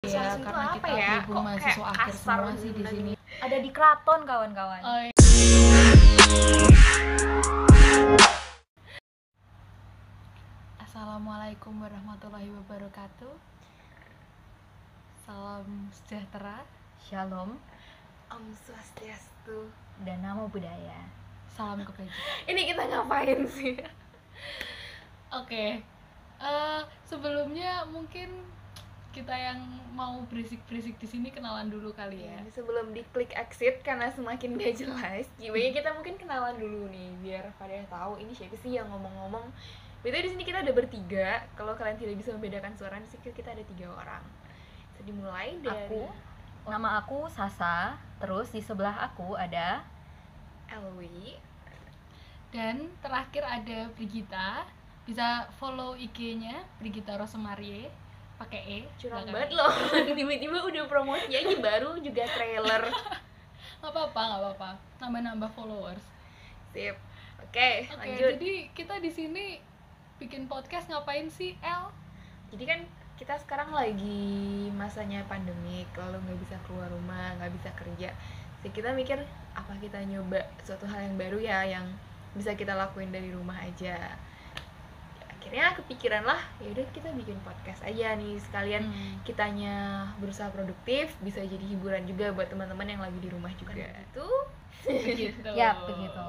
Iya, itu karena apa kita ya? berhubung Kok kayak mahasiswa akhir kasar semua gitu sih di tadi. sini. Ada di keraton kawan-kawan. Oh, iya. Assalamualaikum warahmatullahi wabarakatuh. Salam sejahtera, Shalom Om Swastiastu. dan namo budaya. salam kebajikan. Ini kita ngapain sih? Oke. Eh, sebelumnya mungkin kita yang mau berisik-berisik di sini kenalan dulu kali ya. Iya, Sebelum diklik exit karena semakin gak jelas, gimana kita mungkin kenalan dulu nih biar pada tahu ini siapa sih yang ngomong-ngomong. Betul di sini kita ada bertiga. Kalau kalian tidak bisa membedakan suara, di sini kita ada tiga orang. Jadi dimulai dari Aku, nama aku Sasa. Terus di sebelah aku ada Elwi. Dan terakhir ada Brigita. Bisa follow IG-nya Brigita Rosemarie pakai E. Curang belakangnya. banget loh. Tiba-tiba udah promosi aja baru juga trailer. Nggak apa-apa, nggak apa-apa. Nambah-nambah followers. Sip. Oke, Oke, lanjut. jadi kita di sini bikin podcast ngapain sih, El? jadi kan kita sekarang lagi masanya pandemik lalu nggak bisa keluar rumah nggak bisa kerja jadi kita mikir apa kita nyoba suatu hal yang baru ya yang bisa kita lakuin dari rumah aja akhirnya kepikiran lah yaudah kita bikin podcast aja nih sekalian Hmm, kitanya berusaha produktif bisa jadi hiburan juga buat teman-teman yang lagi di rumah juga itu begitu. Yap, begitu.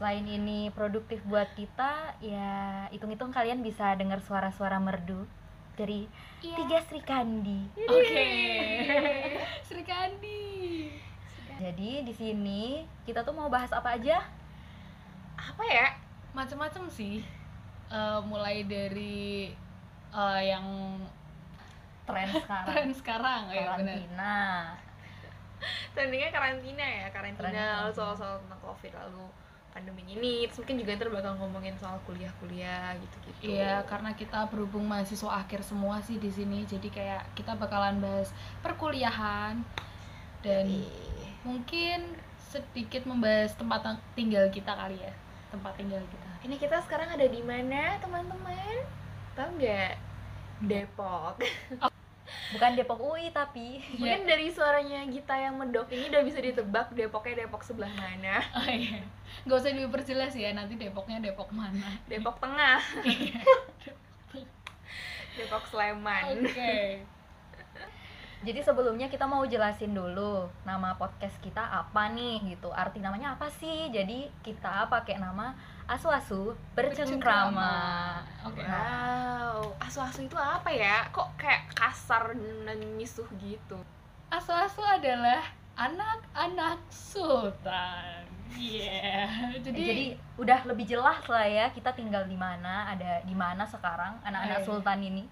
Selain ini produktif buat kita, ya hitung-hitung kalian bisa dengar suara-suara merdu dari Iya. tiga Sri Kandi. Gitu. Oke. Sri Kandi. Jadi di sini kita tuh mau bahas apa aja? apa ya Macam-macam sih. Eh, mulai dari eh, yang Tren sekarang. tren sekarang, ya benar. Karantina. tandingnya karantina ya karantina lalu Karantina. soal-soal tentang covid lalu pandemi ini terus mungkin juga ntar bakal ngomongin soal kuliah-kuliah gitu-gitu Iya, karena kita berhubung mahasiswa akhir semua sih di sini, jadi kayak kita bakalan bahas perkuliahan dan Iya. mungkin sedikit membahas tempat tang- tinggal kita kali ya, tempat tinggal kita. ini kita sekarang ada di mana teman-teman tahu nggak Depok Bukan Depok UI tapi Iya. mungkin dari suaranya Gita yang medok ini udah bisa ditebak Depoknya Depok sebelah mana Oh iya. Gak usah diperjelas ya, nanti Depoknya Depok mana. Depok tengah Depok Sleman Oke. Jadi sebelumnya kita mau jelasin dulu nama podcast kita apa nih gitu. Arti namanya apa sih? Jadi kita pakai nama Asu-asu bercengkrama. Oke. Wow, asu-asu itu apa ya? Kok kayak kasar dan misuh gitu? Asu-asu adalah anak-anak sultan. Iya. Jadi, Eh, Jadi, udah lebih jelas lah ya kita tinggal di mana, ada di mana sekarang anak-anak Hai. sultan ini.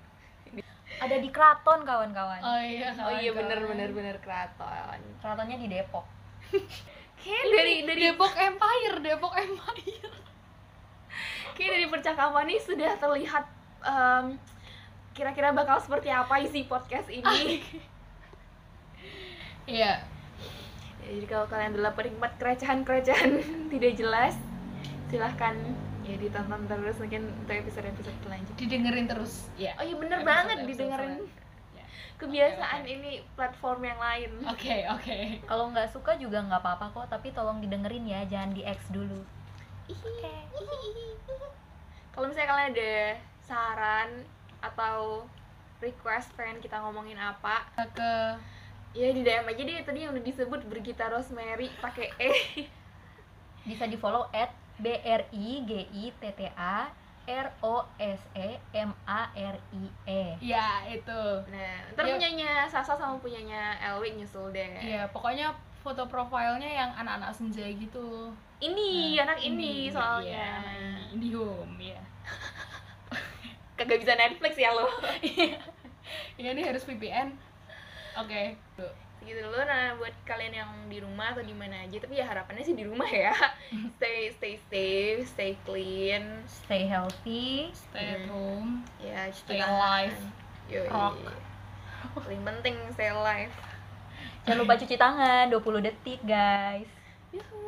Ada di keraton kawan-kawan. Oh iya, Oh iya kawan-kawan. bener bener bener keraton. Keratonnya di Depok. Kayak dari dari Depok Empire, Depok Empire. kayak dari percakapan ini sudah terlihat em, kira-kira bakal seperti apa isi podcast ini. Iya. Ya, Jadi kalau kalian adalah penikmat kerecehan-kerecehan tidak jelas, silahkan ya ditonton terus mungkin untuk episode-episode selanjutnya. didengerin terus ya Oh iya bener Episode- banget episode didengerin. selanjutnya. Kebiasaan Oke, ini platform yang lain. oke oke Kalau nggak suka juga nggak apa-apa kok, tapi tolong didengerin ya, jangan di X dulu. Kalau misalnya kalian ada saran atau request pengen kita ngomongin apa, ke ya di DM aja deh tadi yang udah disebut bergitar Rosemary pakai E Bisa di follow at BRIGITTA E ROSEMARIE. ya itu nah ntar Yuk. punyanya Sasa sama punyanya Elwi nyusul deh ya pokoknya foto profilnya yang anak-anak senja gitu ini Nah, Iya, anak ini, soalnya iya, ini. Indihome ya kagak bisa Netflix ya lo ya ini harus VPN oke tuh. gitu dulu nah buat kalian yang di rumah atau di mana aja tapi ya harapannya sih di rumah ya stay stay safe stay clean Stay healthy. stay at Hmm. home ya cuci Stay tangan. alive. Yoi. Rock. paling penting stay alive Jangan lupa cuci tangan 20 detik, guys. Yuhu.